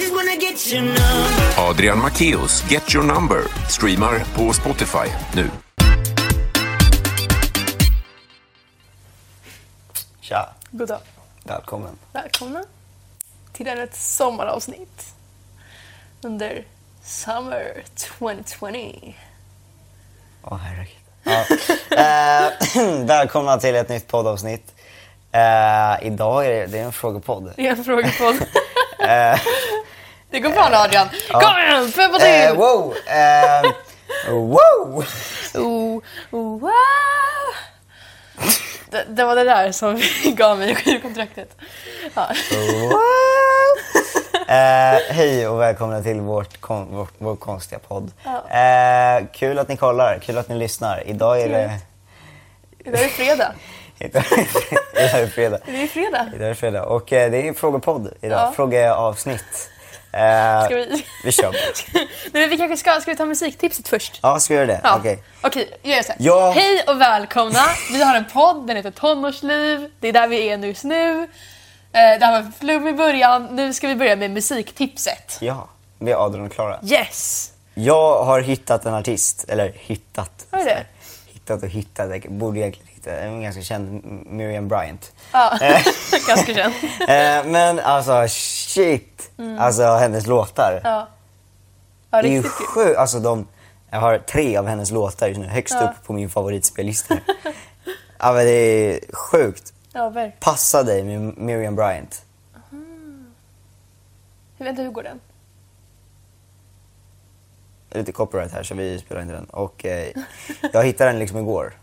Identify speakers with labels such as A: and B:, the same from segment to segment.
A: just wanna get you now.
B: Adrian Macchios Get Your Number streamar på Spotify nu.
C: Tja,
D: God dag.
C: välkommen.
D: Välkomna till ännu ett sommaravsnitt under Summer 2020.
C: Åh herregud. Ja. Eh, välkomna till ett nytt poddavsnitt. Eh, idag är det, det är en Eh, frågepodd.
D: Det är en frågepodd. det går bra nu Adrian. Kom igen, peppa
C: Eh,
D: till!
C: wow! Eh, wow!
D: Oh, oh, wow. det, det var det där som gav mig kontraktet. Ja.
C: Oh. Eh, hej och välkomna till vårt kon, vår, vår konstiga podd.
D: Ja.
C: Eh, kul att ni kollar, kul att ni lyssnar. Idag är det...
D: Idag är det fredag.
C: Idag är det fredag.
D: Det är fredag.
C: Idag är det fredag och eh, det är frågepodd idag.
D: Ja.
C: Frågeavsnitt. Eh,
D: Ska vi...
C: vi kör bara.
D: Nej, men vi kanske ska, ska vi ta musiktipset först?
C: Ja, ska vi göra det?
D: Ja.
C: Okej.
D: Okej, jag gör så här.
C: Ja.
D: Hej och välkomna! Vi har en podd, den heter Tonårsliv. Det är där vi är nu just nu. Eh, Det här var flum i början. Nu ska vi börja med musiktipset.
C: Ja, vi är Adrian och Klara.
D: Yes!
C: Jag har hittat en artist, eller hittat.
D: Har du det?
C: Hittat och hittat, jag borde egentligen hitta. En ganska känd, M- Miriam Bryant.
D: Ja, ganska känd.
C: Eh, men alltså shit! Alltså hennes låtar.
D: Mm. Ja. Ja,
C: det är ju
D: riktigt kul.
C: sjukt. Alltså de, jag har tre av hennes låtar just nu högst
D: Ja.
C: upp på min favoritspellista. ja men det är sjukt.
D: Ja, verkligen.
C: Passa dig med Miriam Bryant.
D: Vänta, hur går den?
C: Det är lite copyright här så vi spelar inte den. Och eh, jag hittade den liksom igår.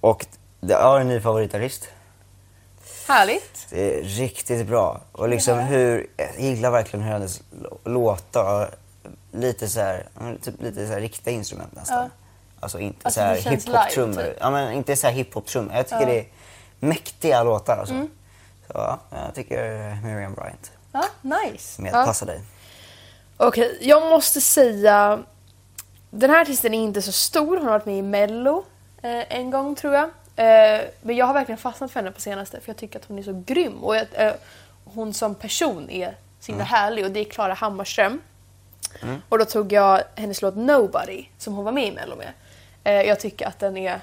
C: Och det- jag har en ny favoritartist.
D: Härligt.
C: Det är riktigt bra. Och liksom hur, jag gillar verkligen hur hennes lå- låtar, lite så här, mm, typ lite så här riktiga instrument nästan.
D: Ja.
C: Alltså inte
D: Alltså,
C: så här
D: det känns
C: hiphop-trummor.
D: live, typ.
C: Ja men inte så här hiphop-trummor. Jag tycker
D: Ja. Mm.
C: det är mäktiga låtar alltså. Så ja, jag tycker Miriam Bryant
D: Ja, nice.
C: med
D: Ja.
C: Passa dig.
D: Okej, jag måste säga... Den här artisten är inte så stor. Hon har varit med i Mello eh, en gång, tror jag. Eh, men jag har verkligen fastnat för henne på senaste, för jag tycker att hon är så grym. Och jag, eh, hon som person är så himla härlig, och det är Klara Hammarström. Och då tog jag hennes låt Nobody, som hon var med i Mello med. Eh, jag tycker att den är...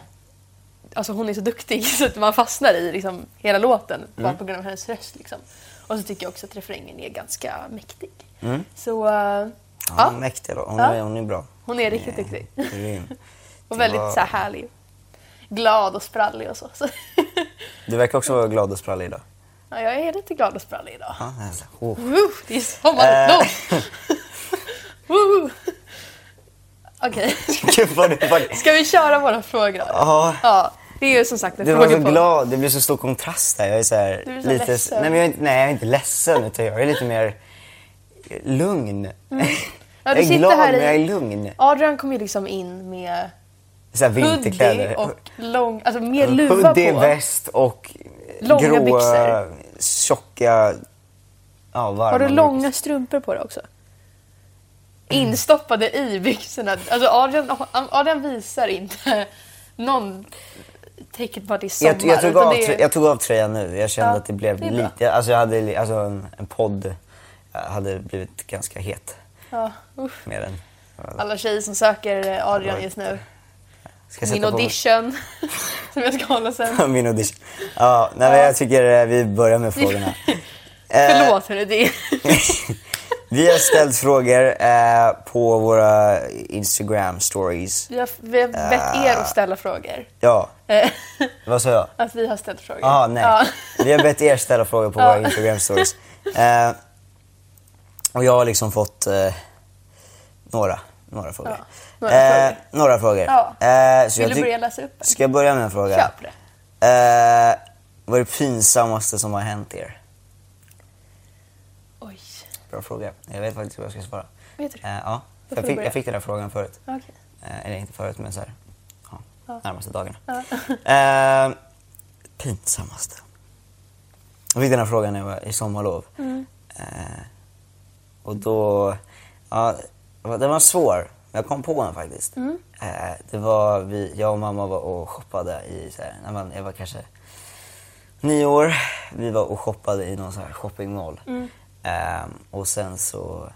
D: Alltså hon är så duktig så att man fastnar i liksom, hela låten bara på grund av hennes röst. Liksom. Och så tycker jag också att refrängen är ganska mäktig. Så... eh,
C: Ja,
D: ja.
C: hon är mäktig då. Hon,
D: Ja.
C: är, hon är bra.
D: Hon är riktigt
C: Eh,
D: duktig.
C: grym.
D: Och väldigt
C: var-
D: så här, härlig. Glad och sprallig och så. så.
C: Du verkar också vara glad och sprallig idag.
D: ja, jag är lite glad och sprallig idag.
C: Ja, alltså, oh.
D: Woo, det är sommarlov!
C: Eh.
D: Woo! Okej,
C: Gud vad du fuck-
D: ska vi köra våra frågor?
C: Ja.
D: ja. Det är ju som sagt en
C: Du var så
D: frågepodd.
C: glad, det blir så stor kontrast där. Jag är så här,
D: Du blir så
C: lite,
D: ledsen.
C: nej, men jag är inte, nej jag är inte ledsen utan jag är lite mer lugn.
D: Mm. Ja,
C: jag
D: du
C: är
D: sitter
C: glad
D: här i-
C: men jag är lugn.
D: Adrian kom ju liksom in med
C: Så här,
D: hoodie
C: vinterkläder.
D: och lång, alltså mer luva
C: Hoodie,
D: på.
C: väst och
D: Långa
C: gråa,
D: byxor.
C: tjocka, ja, varma
D: Har du
C: byxor.
D: långa strumpor på dig också? Instoppade i byxorna. Alltså Adrian, Adrian visar inte någon tecken på att det är sommar.
C: jag, jag, tog
D: utan
C: av,
D: det är-
C: trö- jag tog av tröjan nu. Jag kände
D: Ja,
C: att det blev
D: det är bra.
C: lite... Alltså jag hade li- alltså en, en podd jag hade blivit ganska het
D: ja, uff.
C: med den.
D: Alla tjejer som söker eh, Adrian just nu.
C: Ska jag
D: Min
C: sätta på- Eh.
D: audition som jag ska hålla sen.
C: Min audition. Ja, nej, men jag tycker eh, vi börjar med frågorna. Eh,
D: Förlåt hörni, det är...
C: vi har ställt frågor eh, på våra Instagram stories.
D: vi, har, vi har bett er att ställa frågor.
C: Ja,
D: Eh,
C: Eh. vad sa jag?
D: att vi har ställt frågor.
C: Jaha, nej.
D: Ja.
C: Vi har bett er ställa frågor på
D: Ja.
C: våra Instagram stories. Eh, och jag har liksom fått eh, några, några frågor. Eh,
D: Ja, några frågor.
C: några frågor.
D: Ja.
C: Eh, så
D: Vill
C: jag tyck-
D: du börja läsa upp en?
C: Ska jag börja med en fråga?
D: Kör på det.
C: Eh, vad är det pinsammaste som har hänt er?
D: Oj.
C: Bra fråga. Jag vet faktiskt vad jag ska svara.
D: Vet du det?
C: Eh, ja.
D: Då får
C: Jag
D: du
C: fick,
D: börja.
C: jag fick den här frågan förut.
D: Okej.
C: Eh, eller inte förut, men så här, ja,
D: Ja.
C: närmaste dagarna.
D: Ja.
C: Eh, pinsammaste. Jag fick den här frågan när jag var i sommarlov.
D: Mm.
C: Eh, och då... Ja, den var svår. men Jag kom på den faktiskt.
D: Mm.
C: Eh, det var vi, jag och mamma var och shoppade i... Så här, när man,
D: Mm.
C: jag var kanske nio år. Vi var och shoppade i någon så här shoppingmall. Ehm, och sen så,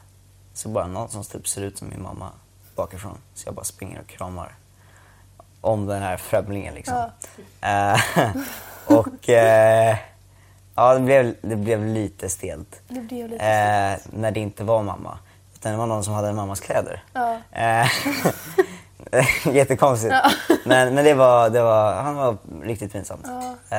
C: så bara någon som typ ser ut som min mamma bakifrån. Så jag bara springer och kramar om den här främlingen liksom. Eh, och eh, ja, det blev, det blev lite stelt.
D: Det blev lite
C: Eh, när det inte var mamma. Utan det var någon som hade mammas kläder.
D: Ja.
C: Eh, Jättekonstigt. Men, men det var, det var, han var riktigt pinsamt. Eh,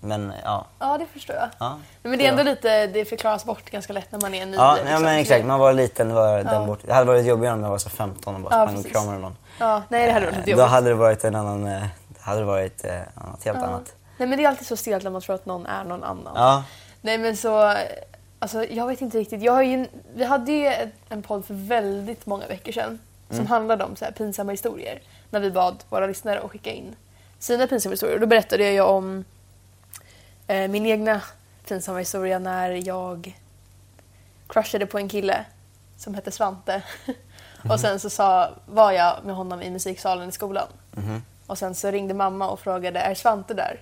C: men ja.
D: Ja, det förstår jag.
C: Ja,
D: Nej, men det är ändå
C: ja.
D: lite, det förklaras bort ganska lätt när man är ny.
C: Ja, nej,
D: liksom.
C: men exakt. Man var liten, var
D: Ja.
C: den bort. Det hade varit jobbigare om jag var så 15 och bara
D: Ja,
C: sprang och
D: precis.
C: kramade någon.
D: Ja, nej, det hade varit
C: Eh,
D: lite
C: Då
D: jobbigt.
C: hade det varit en annan, eh, det hade varit eh, annat, helt annat.
D: Nej men det är alltid så stelt när man tror att någon är någon annan.
C: Ja.
D: Nej men så, alltså jag vet inte riktigt. Jag har ju, vi hade ju ett- en podd för väldigt många veckor sedan
C: Mm.
D: som handlade om så här pinsamma historier. När vi bad våra lyssnare att skicka in sina pinsamma historier. Då berättade jag ju om eh, min egna pinsamma historia när jag crushade på en kille som hette Svante.
C: Mhm.
D: Och sen så sa, var jag med honom i musiksalen i skolan.
C: Mhm.
D: Och sen så ringde mamma och frågade är Svante där?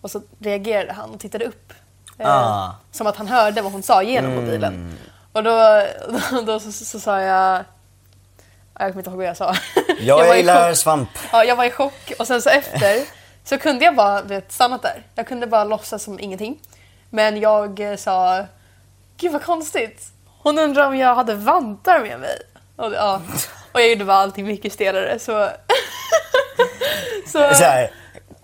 D: Och så reagerade han och tittade upp. Eh,
C: Ah. Mm.
D: Som att han hörde vad hon sa genom mobilen. Och då, då, då så, så, så sa jag... ja, Jag kommer inte ihåg vad jag sa.
C: Jag,
D: var i
C: gillar
D: chock.
C: svamp.
D: Ja, jag var i chock och sen så efter så kunde jag bara du vet, stannat där. Jag kunde bara låtsas som ingenting. Men jag eh, sa, gud vad konstigt. Hon undrar om jag hade vantar med mig. Och, det- ja. och jag gjorde bara allting mycket stelare så... så,
C: Så här,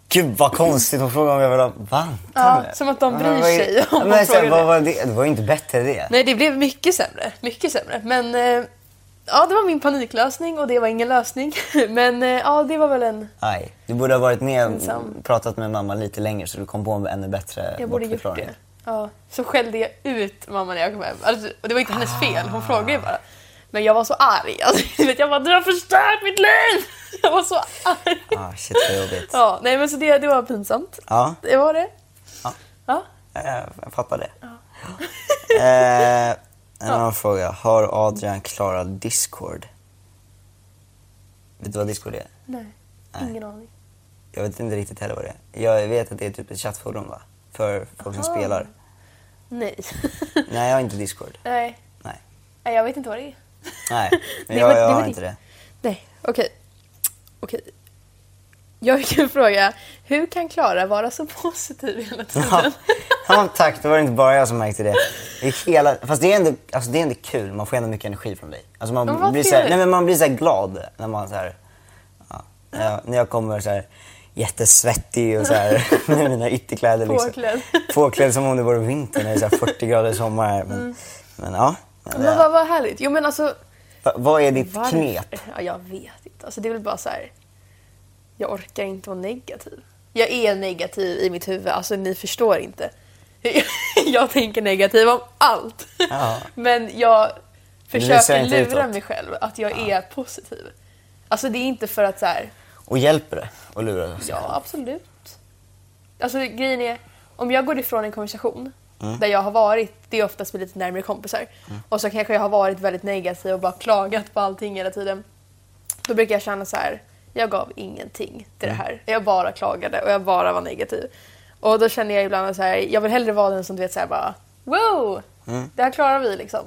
C: Gud vad konstigt, hon frågade om jag ville ha vantar.
D: Ja, som att de
C: Men
D: bryr
C: vad är-
D: sig om
C: Ja,
D: hon
C: men, så här,
D: frågar
C: vad
D: det.
C: var det. Det var ju inte bättre det.
D: Nej, det blev mycket sämre. Mycket sämre. Men eh, ja, det var min paniklösning och det var ingen lösning. Men eh, ja, det var väl en...
C: Aj, du borde ha varit med
D: Pinsam.
C: och pratat med mamma lite längre så du kom på en ännu bättre
D: Jag borde gjort
C: bortförklaring.
D: det. Ja. Så skällde jag ut mamma när jag kom hem. Alltså, och det var inte
C: Ah.
D: hennes fel, hon frågade ju bara. Men jag var så arg. Alltså, du vet, jag bara, du har förstört mitt liv! Jag var så arg.
C: Ah, shit vad jobbigt.
D: Ja, nej men så det, det var pinsamt.
C: Ja.
D: Det var det.
C: Ja.
D: Ja.
C: Eh, Jag fattar det. Eh, en annan fråga. Har Adrian klarat Discord? Vet du vad Discord är?
D: Nej. Ingen aning.
C: Jag vet inte riktigt heller vad det är. Jag vet att det är typ ett chattforum va? För folk som
D: Aha.
C: spelar.
D: Nej.
C: Nej, jag har inte Discord.
D: nej.
C: Nej.
D: Nej, jag vet inte vad det är.
C: Nej, men
D: Det
C: jag,
D: var- det
C: jag
D: var
C: har
D: din-
C: inte det.
D: Nej, okej. Okej. Jag fick en fråga. Hur kan Klara vara så positiv hela
C: Ja,
D: tiden?
C: ja, tack. Då var det inte bara jag som märkte det. det är hela, fast det är, ändå, alltså det är ändå kul. Man får ändå mycket energi från dig. Alltså
D: Ja,
C: man,
D: vad
C: blir så här,
D: trevligt.
C: nej, men man blir så här glad när man så här, ja, när, jag, när jag kommer så här jättesvettig och så här, med mina ytterkläder. Liksom.
D: Påklädd.
C: Påklädd som om det vore vinter när det är så här 40 grader sommar. här. Men, men ja. Men,
D: Mm. Men
C: ja.
D: vad, vad härligt. Jo men alltså...
C: Va- vad är ditt
D: varför-
C: knep?
D: Ja, jag vet inte. Alltså det är väl bara så här... Jag orkar inte vara negativ. Jag är negativ i mitt huvud. Alltså ni förstår inte. Jag tänker negativ om allt.
C: Ja.
D: Men jag försöker
C: inte
D: lura
C: utåt.
D: mig själv att jag är positiv. Alltså det är inte för att så här...
C: Och hjälper det att lura sig
D: Ja, absolut. Alltså grejen är, om jag går ifrån en konversation
C: Mm.
D: där jag har varit, det är oftast med lite närmare kompisar, och så kanske jag har varit väldigt negativ och bara klagat på allting hela tiden. Då brukar jag känna så här, jag gav ingenting till
C: Mm.
D: det här. Jag bara klagade och jag bara var negativ. Och då känner jag ibland så här, jag vill hellre vara den som du vet så här bara, wow!
C: Mm.
D: Det här klarar vi liksom.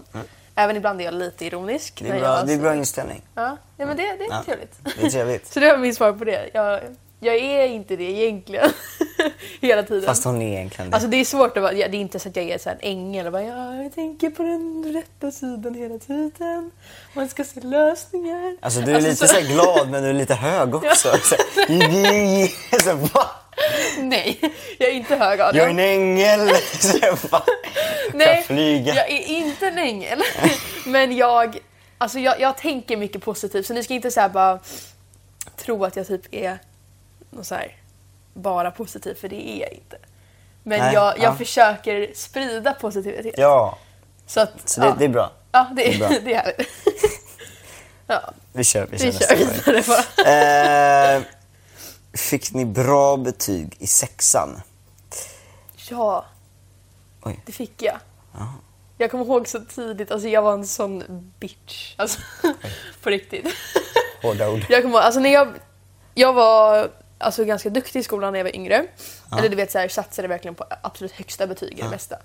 D: Även ibland är jag lite ironisk.
C: Det
D: när
C: är bra,
D: jag,
C: det är bra inställning.
D: Ja, ja men det, det är
C: Ja,
D: trevligt.
C: det är trevligt.
D: Så det var min svar på det. Jag, jag är inte det egentligen. Hela tiden.
C: Fast hon är egentligen det.
D: Alltså det är svårt att vara, ja, det är inte så att jag är så här en ängel och bara ja, jag tänker på den rätta sidan hela tiden. Man ska se lösningar.
C: Alltså du är lite
D: så-
C: så... här glad men du är lite hög också.
D: Ja.
C: Så här, så här, va?
D: Nej, jag är inte hög av
C: Jag är en ängel! Så här, va? Ska
D: Nej,
C: jag flyga?
D: jag är inte en ängel. Men jag, alltså jag, jag tänker mycket positivt så ni ska inte så här bara tro att jag typ är någon så här, bara positiv för det är jag inte. Men
C: Nej,
D: jag, jag
C: ja.
D: försöker sprida positivitet.
C: Ja,
D: Så, att,
C: så det,
D: ja.
C: det är bra.
D: Ja, det är,
C: Det är bra.
D: det är härligt. ja,
C: Vi kör, vi kör
D: vi
C: nästa
D: kör
C: fråga.
D: vidare bara.
C: Eh, fick ni bra betyg i sexan?
D: Ja,
C: Oj.
D: det fick jag. Jag kommer ihåg så tidigt, alltså jag var en sån bitch. Alltså, på riktigt.
C: Hårda ord.
D: Jag kommer ihåg, alltså när jag, jag var alltså, ganska duktig i skolan när jag var yngre. Eller du vet så här, satsade verkligen på absolut högsta betyg i det mesta.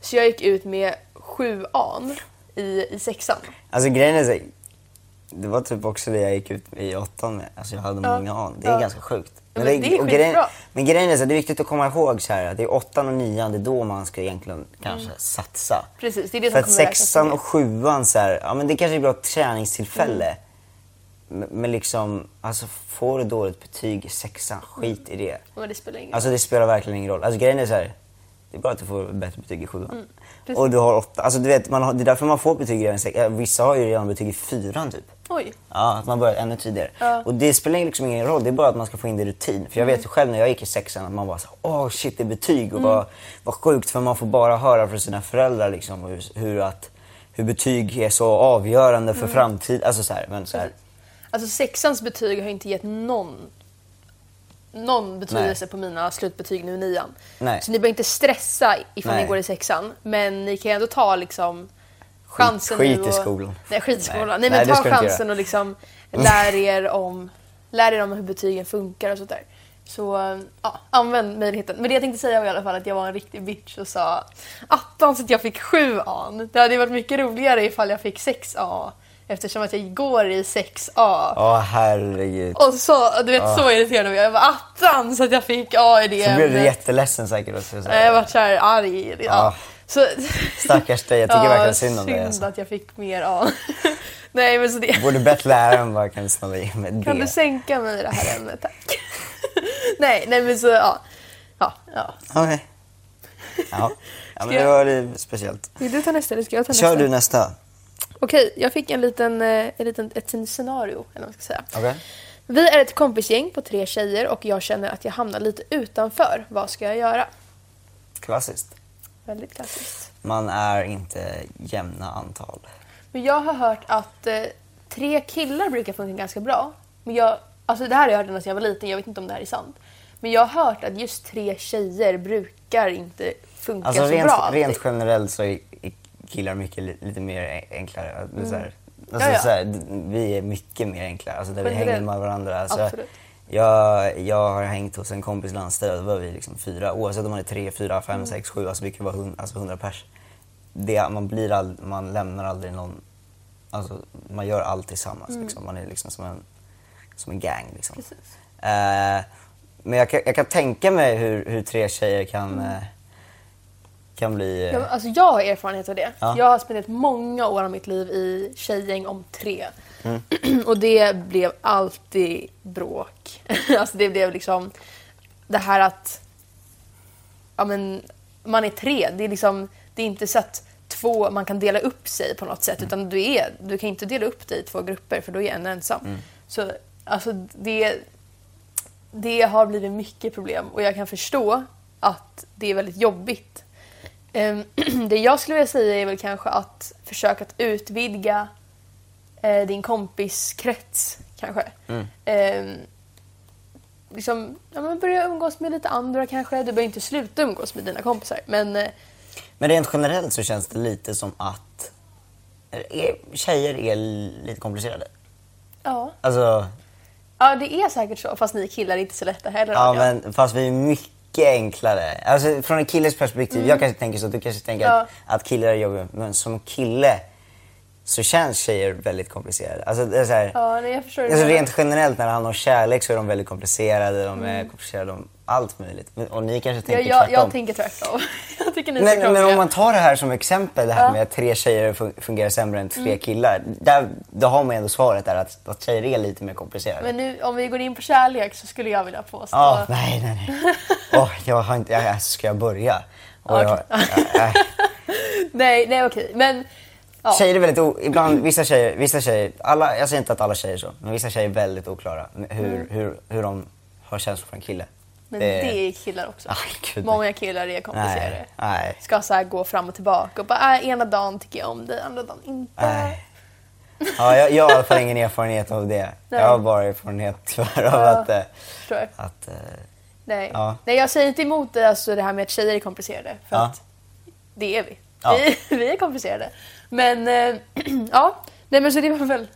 D: Så jag gick ut med sjuan i, i sexan.
C: Alltså grejen är så här, det var typ också det jag gick ut i åttan med. Alltså jag hade
D: Ja.
C: många an. Det är
D: Ja.
C: ganska sjukt.
D: Ja, men det är
C: och grejen,
D: skitbra.
C: men grejen är så här, det är viktigt att komma ihåg så här, att det är åttan och nian, det är då man ska egentligen kanske satsa.
D: Mm. Precis, det är det
C: För
D: som
C: att
D: kommer räknas som
C: sexan
D: det.
C: och sjuan så här, ja men det kanske är ett bra träningstillfälle.
D: Mm.
C: Men, men liksom, alltså får du dåligt betyg i sexan, skit
D: Mm.
C: i det.
D: Men det spelar ingen roll.
C: Alltså det spelar verkligen ingen roll. Alltså grejen är så här, det är bara att du får bättre betyg i sjuan.
D: Mm, precis.
C: och du har åtta, alltså du vet, man har, det är därför man får betyg redan i sexan. Vissa har ju redan betyg i fyran typ.
D: Oj.
C: Ja, att man börjar ännu tidigare.
D: Ja. Mm.
C: Och det spelar liksom ingen roll, det är bara att man ska få in det i rutin. För jag vet ju själv när jag gick i sexan att man bara så här, åh shit det är betyg och vad, vad sjukt för man får bara höra från sina föräldrar liksom hur, hur, att, hur betyg är så avgörande
D: Mm.
C: för framtiden. Alltså så här, men så här,
D: Alltså sexans betyg har inte gett någon, någon betydelse på mina slutbetyg nu i nian.
C: Nej.
D: Så ni behöver inte stressa ifall
C: Nej.
D: ni går i sexan, men ni kan ändå ta liksom chansen
C: skit
D: nu
C: i
D: och,
C: skolan.
D: Nej, skit i skolan.
C: Nej.
D: Nej,
C: Nej,
D: men
C: det
D: ta
C: ska du inte
D: chansen
C: göra.
D: och liksom lär er om, lär er om hur betygen funkar och sånt där. Så ja, använd möjligheten. Men det jag tänkte säga var i alla fall att jag var en riktig bitch och sa attans att jag fick 7 an. Det hade ju varit mycket roligare ifall jag fick 6 A eftersom att jag går i 6 A.
C: åh herregud.
D: Och så, du vet så irriterad blev jag. Jag var attan så att jag fick A i det
C: Ah. Så blev du
D: ämnet.
C: jätteledsen säkert också. Så
D: Nej,
C: här.
D: Jag vart såhär arg. Ja.
C: Ah.
D: Så,
C: Stackars dig, jag tycker
D: Ja,
C: verkligen synd om dig,
D: Synd
C: alltså.
D: att jag fick mer A. Nej men så det.
C: Borde bett läraren bara kan du snälla ge mig det.
D: Kan du sänka mig i det här ämnet tack? nej, nej men så ja. Ja, ja.
C: Okej. Ja. ja, men
D: jag-
C: det var lite speciellt.
D: Vill du ta nästa eller ska jag ta
C: Kör
D: nästa?
C: du nästa.
D: Okej, jag fick en liten, eh, en liten, ett litet scenario eller vad man ska säga.
C: Okej.
D: Vi är ett kompisgäng på tre tjejer och jag känner att jag hamnar lite utanför. Vad ska jag göra?
C: Klassiskt.
D: Väldigt klassiskt.
C: Man är inte jämna antal.
D: Men jag har hört att eh, tre killar brukar funka ganska bra. Men jag, alltså det här har jag hört ända sedan jag var liten, jag vet inte om det här är sant. Men jag har hört att just tre tjejer brukar inte funka
C: Alltså
D: så
C: rent,
D: bra. alltid.
C: rent generellt så är är killar mycket li- lite mer e- enklare. Alltså, så här, alltså,
D: Mm. Ja, ja.
C: Så här, d- vi är mycket mer enklare, alltså där vi
D: Generellt.
C: hänger med varandra. Alltså,
D: Absolut.
C: jag, jag har hängt hos en kompis i Landstad, då var vi liksom fyra, oavsett om man är tre, fyra,
D: Mm.
C: fem, sex, sju, alltså vi kan vara hundra, alltså hundra pers. Det, man, blir all, man lämnar aldrig någon, alltså, man gör allt tillsammans. Liksom. Man är liksom som en, som en gang. Liksom.
D: Mm. Precis.
C: Eh, men jag kan, jag kan tänka mig hur, hur tre tjejer kan,
D: Mm.
C: eh, kan bli... eh,
D: Ja, men Alltså jag har erfarenhet av det.
C: Ja.
D: Jag har spenderat många år av mitt liv i tjejgäng om tre. Och det blev alltid bråk. alltså det blev liksom det här att ja, men, man är tre. Det är, liksom, det är inte så att två, man kan dela upp sig på något sätt. Utan du, är, du kan inte dela upp dig i två grupper för då är en ensam. Så alltså det, det har blivit mycket problem och jag kan förstå att det är väldigt jobbigt. Ehm, Det jag skulle vilja säga är väl kanske att försöka att utvidga eh, din kompiskrets kanske.
C: Mm.
D: Ehm, Liksom, ja, men börja umgås med lite andra kanske. Du behöver inte sluta umgås med dina kompisar. Men eh,
C: Men rent generellt så känns det lite som att eh, är, tjejer är lite komplicerade.
D: ja.
C: Alltså,
D: ja, det är säkert så. Fast ni killar är inte så lätta heller.
C: ja,
D: hör jag.
C: men, fast vi är mycket enklare. Alltså, från en killes perspektiv, jag kanske tänker så, du kanske tänker
D: Mm. Ja.
C: att, att killar är jobbiga. Men som kille så känns tjejer väldigt komplicerade. Alltså, det är så här,
D: Ja, nej, jag förstår hur du
C: alltså,
D: menar.
C: rent generellt när det handlar om kärlek så är de väldigt komplicerade, de är komplicerade om allt möjligt. Men- Och ni kanske tänker
D: jag, Mm. jag,
C: tvärtom.
D: jag tänker tvärtom. jag tycker ni är så
C: Men, men
D: krångliga.
C: om man tar det här som exempel, det här
D: Ja. Mm.
C: med att tre tjejer fun- fungerar sämre än tre killar. Där, då har man ändå svaret där att, att tjejer är lite mer komplicerade.
D: Men nu, om vi går in på kärlek så skulle jag vilja påstå...
C: Ja, nej, nej, nej. Åh, jag har inte, jag, alltså, ska jag börja? Och jag,
D: Okej.
C: äh, äh.
D: Nej, nej okej. Men ja.
C: Tjejer är väldigt o, ibland, vissa tjejer, vissa tjejer, alla, jag säger inte att alla tjejer är så, men vissa tjejer är väldigt oklara med hur, hur, hur de har känslor för en kille.
D: Mm. men det är killar också.
C: Ah, eh, gud.
D: Många killar är komplicerade.
C: Nej, nej.
D: Ska så här gå fram och tillbaka och bara äh, ena dagen tycker jag om dig, andra dagen inte.
C: Nej. Ja, jag, jag har i alla fall ingen erfarenhet av det.
D: Nej.
C: Jag har bara erfarenhet tyvärr av
D: Ja,
C: att, eh,
D: förstår jag.
C: att eh,
D: Nej.
C: Ja.
D: Nej, jag säger inte emot det, alltså, det här med att tjejer är komplicerade. För
C: Ja.
D: att det är vi.
C: Ja.
D: Vi, vi är komplicerade. Men eh, ja, nej men så det var väl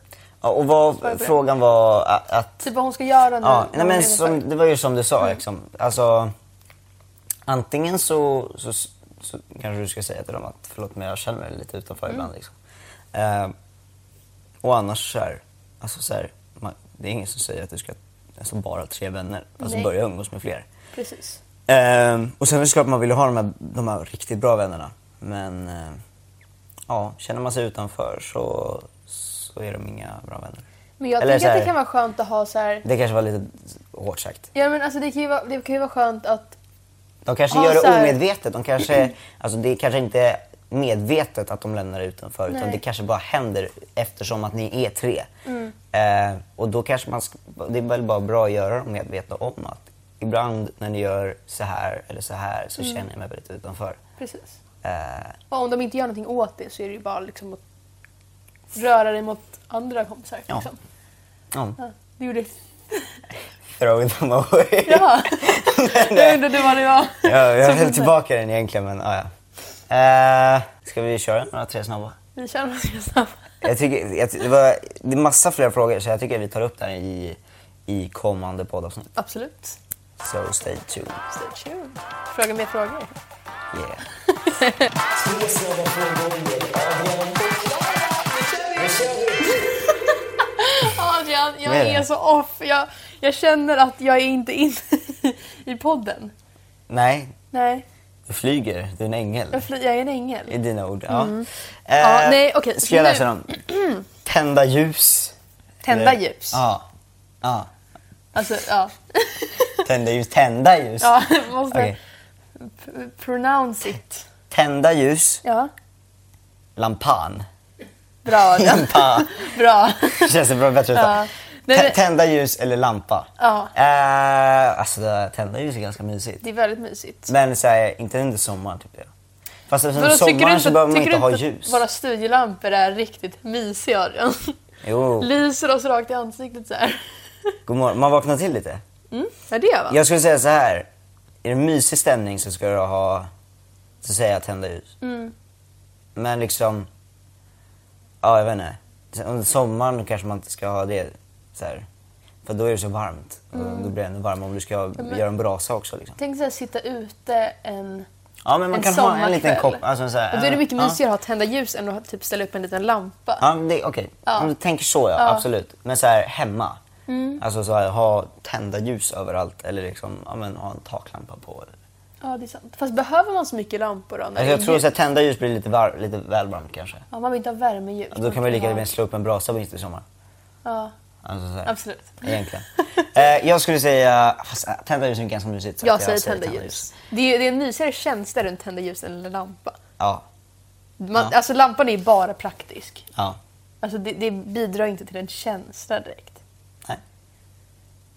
C: Ja, och vad
D: Svara på det.
C: frågan var a- att...
D: typ vad hon ska göra nu.
C: Ja, nej,
D: Hon är
C: men
D: ungefär- Mm.
C: som, det var ju som du sa liksom. Alltså, antingen så, så s- så kanske du ska säga till dem att förlåt men jag känner mig lite
D: Mm.
C: utanför ibland. Liksom. Eh, och annars så här, alltså så här, man, det är ingen som säger att du ska alltså, bara ha tre vänner. Alltså
D: Nej.
C: börja umgås med fler.
D: Precis.
C: Eh, och sen är det klart man vill ju ha de här, de här riktigt bra vännerna. Men eh, ja, känner man sig utanför så, så är de inga bra vänner.
D: Men jag
C: Eller
D: tänker
C: så
D: att det
C: här-
D: kan vara skönt att ha så här...
C: Det kanske var lite hårt sagt.
D: Ja men alltså det kan ju vara, det kan ju vara skönt att...
C: De kanske
D: Ja,
C: gör
D: så
C: det
D: här-
C: omedvetet. De kanske, alltså det är kanske inte är medvetet att de lämnar det utanför utan
D: Nej. Mm.
C: det kanske bara händer eftersom att ni är tre. Eh, och då kanske man, ska, det är väl bara bra att göra dem medvetna om att ibland när ni gör så här eller så här så
D: Mm.
C: känner jag mig väldigt utanför.
D: Precis.
C: Eh,
D: Och om de inte gör någonting åt det så är det ju bara liksom att röra dig mot andra kompisar.
C: Ja.
D: Liksom.
C: ja,
D: Ja. Det gjorde...
C: throw them away.
D: Ja. jag undrade vad det var.
C: jag jag höll
D: som hände.
C: tillbaka den egentligen men ah, ja. Eh, ska vi köra några tre snabba?
D: Vi känner oss ju snabba.
C: Jag tycker, jag, ty- det, var, det är massa fler frågor så jag tycker vi tar upp det här i, i kommande poddavsnitt.
D: Absolut.
C: So stay tuned.
D: Stay tuned. Fråga mer frågor.
C: Yeah.
D: Adrian, alltså, jag
C: Vad är det?
D: är så off. Jag, jag känner att jag är inte inne i podden.
C: Nej,
D: Nej,
C: du flyger. Du är en ängel.
D: jag, fly, jag är en ängel.
C: I dina ord. Ja. Eh,
D: Ja, nej, okej, så
C: Ska jag
D: nu-
C: läsa dem? Tända ljus.
D: Tända
C: Eller-
D: ljus.
C: Ja. ja.
D: Alltså, ja.
C: Tända ljus. Tända ljus.
D: ja jag måste
C: Okej.
D: p- pronounce it.
C: Tända ljus.
D: Ja.
C: Lampan.
D: Bra Adrian.
C: Lampa.
D: Bra.
C: Känns det bra, bättre
D: Ja.
C: utan.
D: Nej,
C: Tä-
D: men-
C: Tända ljus eller lampa.
D: Ja.
C: Eh, alltså det där, tända ljus är ganska mysigt.
D: Det är väldigt mysigt.
C: Men så här, inte under sommaren tycker jag. Fast under
D: Vadå,
C: sommaren så behöver man
D: tycker
C: inte
D: du
C: ha
D: att
C: ljus.
D: Våra studielampor är riktigt mysiga Adrian.
C: Jo,
D: Lyser oss rakt i ansiktet så här.
C: god morgon. Man vaknar till lite.
D: Mm, ja det är va?
C: Jag skulle säga så här. Är det mysig stämning så ska du ha, så säger jag tända ljus.
D: Mm.
C: Men liksom, ja jag vet inte. Under sommaren kanske man inte ska ha det så här. För då är det så varmt.
D: Mm.
C: Och då blir det ännu varmare om du ska göra en brasa också liksom.
D: Tänk så här, sitta ute en
C: Ja men man
D: en
C: kan ha en liten
D: sommarkväll.
C: kopp. Alltså, så här,
D: och då är det mycket
C: ja.
D: mysigare att ha tända ljus än att typ ställa upp en liten lampa.
C: Ja, men det- okej.
D: Ja.
C: Om du tänker så, ja.
D: Ja. Mm.
C: Absolut. Men så här hemma. Alltså så här, ha tända ljus överallt eller liksom, ja, men, ha en taklampa på.
D: Ja, det är sant. Fast behöver man så mycket lampor då? När
C: Alltså,
D: det är
C: jag tror
D: ljus?
C: att tända ljus blir lite, var- lite väl varmt kanske.
D: ja, man vill inte ha värmeljus.
C: Då kan man ju lika
D: ha-
C: gärna slå upp en brasa mitt i sommaren.
D: Ja,
C: Alltså, så här,
D: absolut.
C: Egentligen. eh, jag skulle säga, fast, äh, tända ljus är ganska mysigt. så
D: Jag
C: att
D: säger tända ljus. Det är, det är en mysigare känsla runt tända ljus än en lampa.
C: Ja,
D: Man,
C: Ja.
D: Alltså lampan är bara praktisk.
C: ja.
D: Alltså det, det bidrar inte till en känsla direkt.
C: Nej.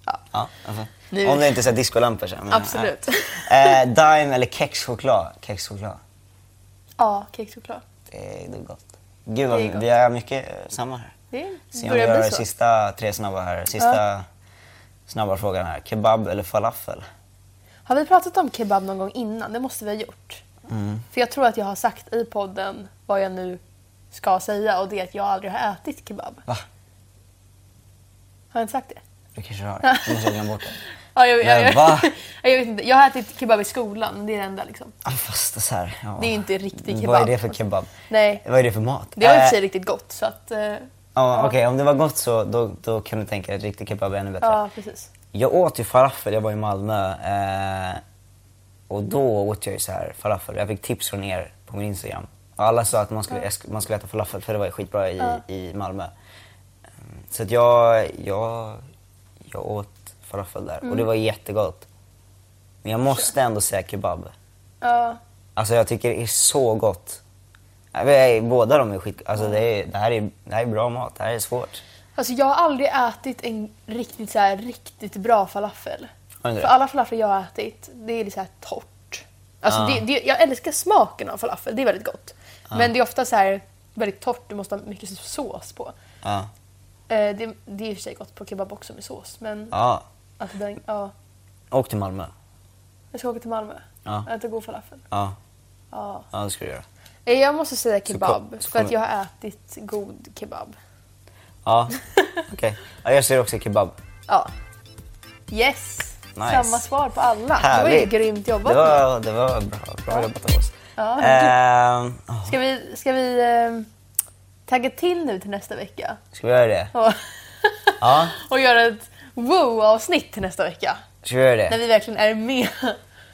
D: Ja.
C: Ja, alltså.
D: Nu-
C: Om det inte är så här discolampor sen. men,
D: Absolut.
C: nej. Eh, Dime eller kexchoklad? Kexchoklad.
D: Ja, kexchoklad.
C: Det är, det är gott. Gud, vad,
D: Det är gott.
C: vi har mycket eh, samma här.
D: Det
C: Se om vi
D: börjar
C: gör
D: bli så.
C: sista tre snabba här. Sista snabba frågan här. Kebab eller falafel?
D: Har vi pratat om kebab någon gång innan? Det måste vi ha gjort.
C: Mm.
D: För jag tror att jag har sagt i podden vad jag nu ska säga och det är att jag aldrig har ätit kebab.
C: Va?
D: Har jag inte sagt det?
C: Du kanske har det? Du måste jag glömma bort det.
D: Ja, jag, jag,
C: Men va?
D: jag vet inte. Jag har ätit kebab i skolan, men det är det enda. Liksom.
C: Ah, fast det är så här. ja.
D: Det är ju inte riktig kebab.
C: Vad är det för kebab?
D: Nej.
C: Vad är det för mat?
D: Det var i och för sig
C: Eh,
D: riktigt gott. Så att, eh,
C: ja, Okej, om det var gott så då, då kan du tänka dig att riktig kebab är ännu bättre.
D: ja, precis.
C: Jag åt ju falafel, jag var i Malmö. Eh, och då åt jag ju så här falafel. Jag fick tips från er på min Instagram. Och alla sa att man skulle, jag sk- man skulle äta falafel för det var ju skitbra i, i Malmö. Mm, Så att jag, jag, jag åt falafel där och det var jättegott. Men jag måste ändå säga kebab.
D: Ja,
C: Alltså jag tycker det är så gott. Jag vet, Båda de är skit... Alltså det, är, det, här är, det här är bra mat, det här är svårt.
D: alltså, jag har aldrig ätit en riktigt, så här, riktigt bra falafel.
C: Har du inte
D: För
C: det?
D: alla falafel jag har ätit, det är lite så här torrt. Alltså,
C: Ah.
D: det, det, jag älskar smaken av falafel, det är väldigt gott. Men det är ofta så här, väldigt torrt, du måste ha mycket sås på.
C: Ja.
D: Eh, det, det är i och för sig gott på kebab också med sås, men
C: ja.
D: alltså, den, ja.
C: Åk till Malmö.
D: Jag ska åka till Malmö.
C: Ja.
D: Äta god falafel.
C: Ja,
D: Ja.
C: ja det ska du göra.
D: Eh, Jag måste säga
C: kom-
D: kebab,
C: så
D: för att
C: kom-
D: jag har ätit god kebab.
C: Ja, okej. Ja, jag ser också kebab.
D: Ja. Yes!
C: Nice.
D: Samma svar på alla. Det var ju
C: Härligt.
D: grymt jobbat.
C: Det var, det var bra, bra jobbat av oss.
D: Ja.
C: Ehm, åh,
D: Ska vi, ska vi eh, tagga till nu till nästa vecka?
C: ska vi göra det?
D: Och,
C: Ja.
D: och göra ett wow-avsnitt till nästa vecka.
C: Ska vi göra det?
D: När vi verkligen är med.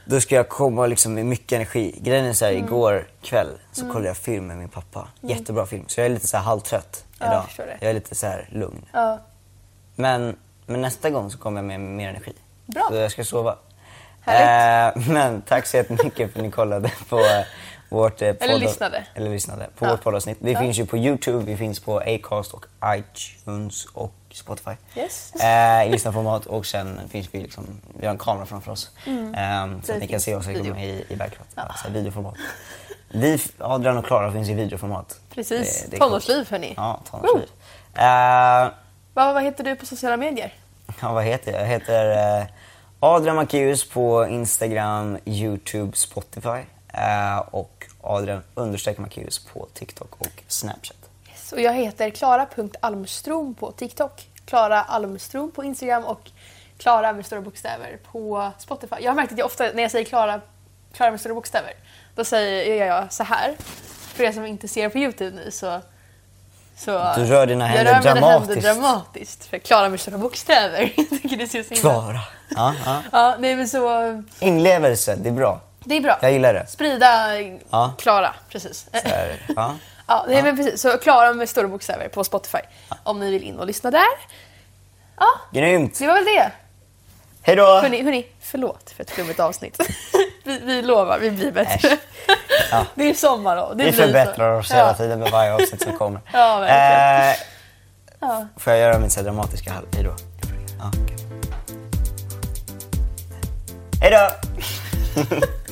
C: Då ska jag komma liksom med mycket energi. Grejen är så här,
D: Mm.
C: igår kväll så kollade jag film med min pappa. Jättebra film. Så jag är lite så här halvtrött
D: Ja,
C: idag.
D: jag förstår det.
C: jag är lite så här lugn.
D: Ja.
C: Men, men nästa gång så kommer jag med mer energi.
D: Bra.
C: Så jag ska sova.
D: Härligt.
C: Eh, men tack så jättemycket för att ni kollade på eh, vårt eh,
D: Eller
C: podd-
D: lyssnade.
C: Eller lyssnade på
D: Ja.
C: vårt poddavsnitt. Vi
D: Ja.
C: finns ju på Youtube, vi finns på Acast och iTunes och Spotify.
D: Yes.
C: Eh, I lyssnarformat och sen finns vi liksom, vi har en kamera framför oss. Eh, så
D: Så
C: att
D: Mm. det
C: ni kan
D: finns
C: se oss
D: video.
C: liksom i, i verklighet.
D: Ja.
C: Alltså videoformat. Vi, Adrian och Klara finns i videoformat.
D: Precis.
C: Det- det är coolt.
D: tonårsliv hörni.
C: Ja, tonårsliv. Eh,
D: Vad, vad heter du på sociala medier?
C: Ja, vad heter jag? Jag heter eh, Adrian Macéus på Instagram, Youtube, Spotify eh, och Adrian understreck Macéus på TikTok och Snapchat.
D: Yes. Och jag heter klara.almstrom på TikTok. Klara Almstrom på Instagram och Klara med stora bokstäver på Spotify. Jag har märkt att jag ofta när jag säger Klara, Klara med stora bokstäver, då säger jag, jag så här. För er som inte ser på Youtube nu så... så
C: Du rör dina händer
D: jag rör mina händer
C: dramatiskt.
D: dramatiskt. För Klara med stora bokstäver. jag tycker det ser så himla-
C: Klara! Ja, ja.
D: Ja, nej men så...
C: Inlevelse, det är bra.
D: Det är bra.
C: Jag gillar det.
D: Sprida
C: Ja.
D: Klara, precis.
C: Där, ja.
D: Ja, nej, men precis. Så Klara med stora bokstäver på Spotify om ni vill in och lyssna där. Ja,
C: Grymt!
D: det var väl det.
C: Hej då!
D: Hörni, hörni förlåt för ett flummigt avsnitt. vi, vi lovar, vi blir bättre.
C: Äsch. Ja.
D: Det är sommar då. Det
C: Vi
D: blir så.
C: förbättrar oss hela
D: Ja.
C: tiden med varje avsnitt som kommer.
D: Ja, verkligen.
C: Eh,
D: Ja.
C: Får jag göra min så här dramatiska hall? Hej då. Ja, okej. Hej då!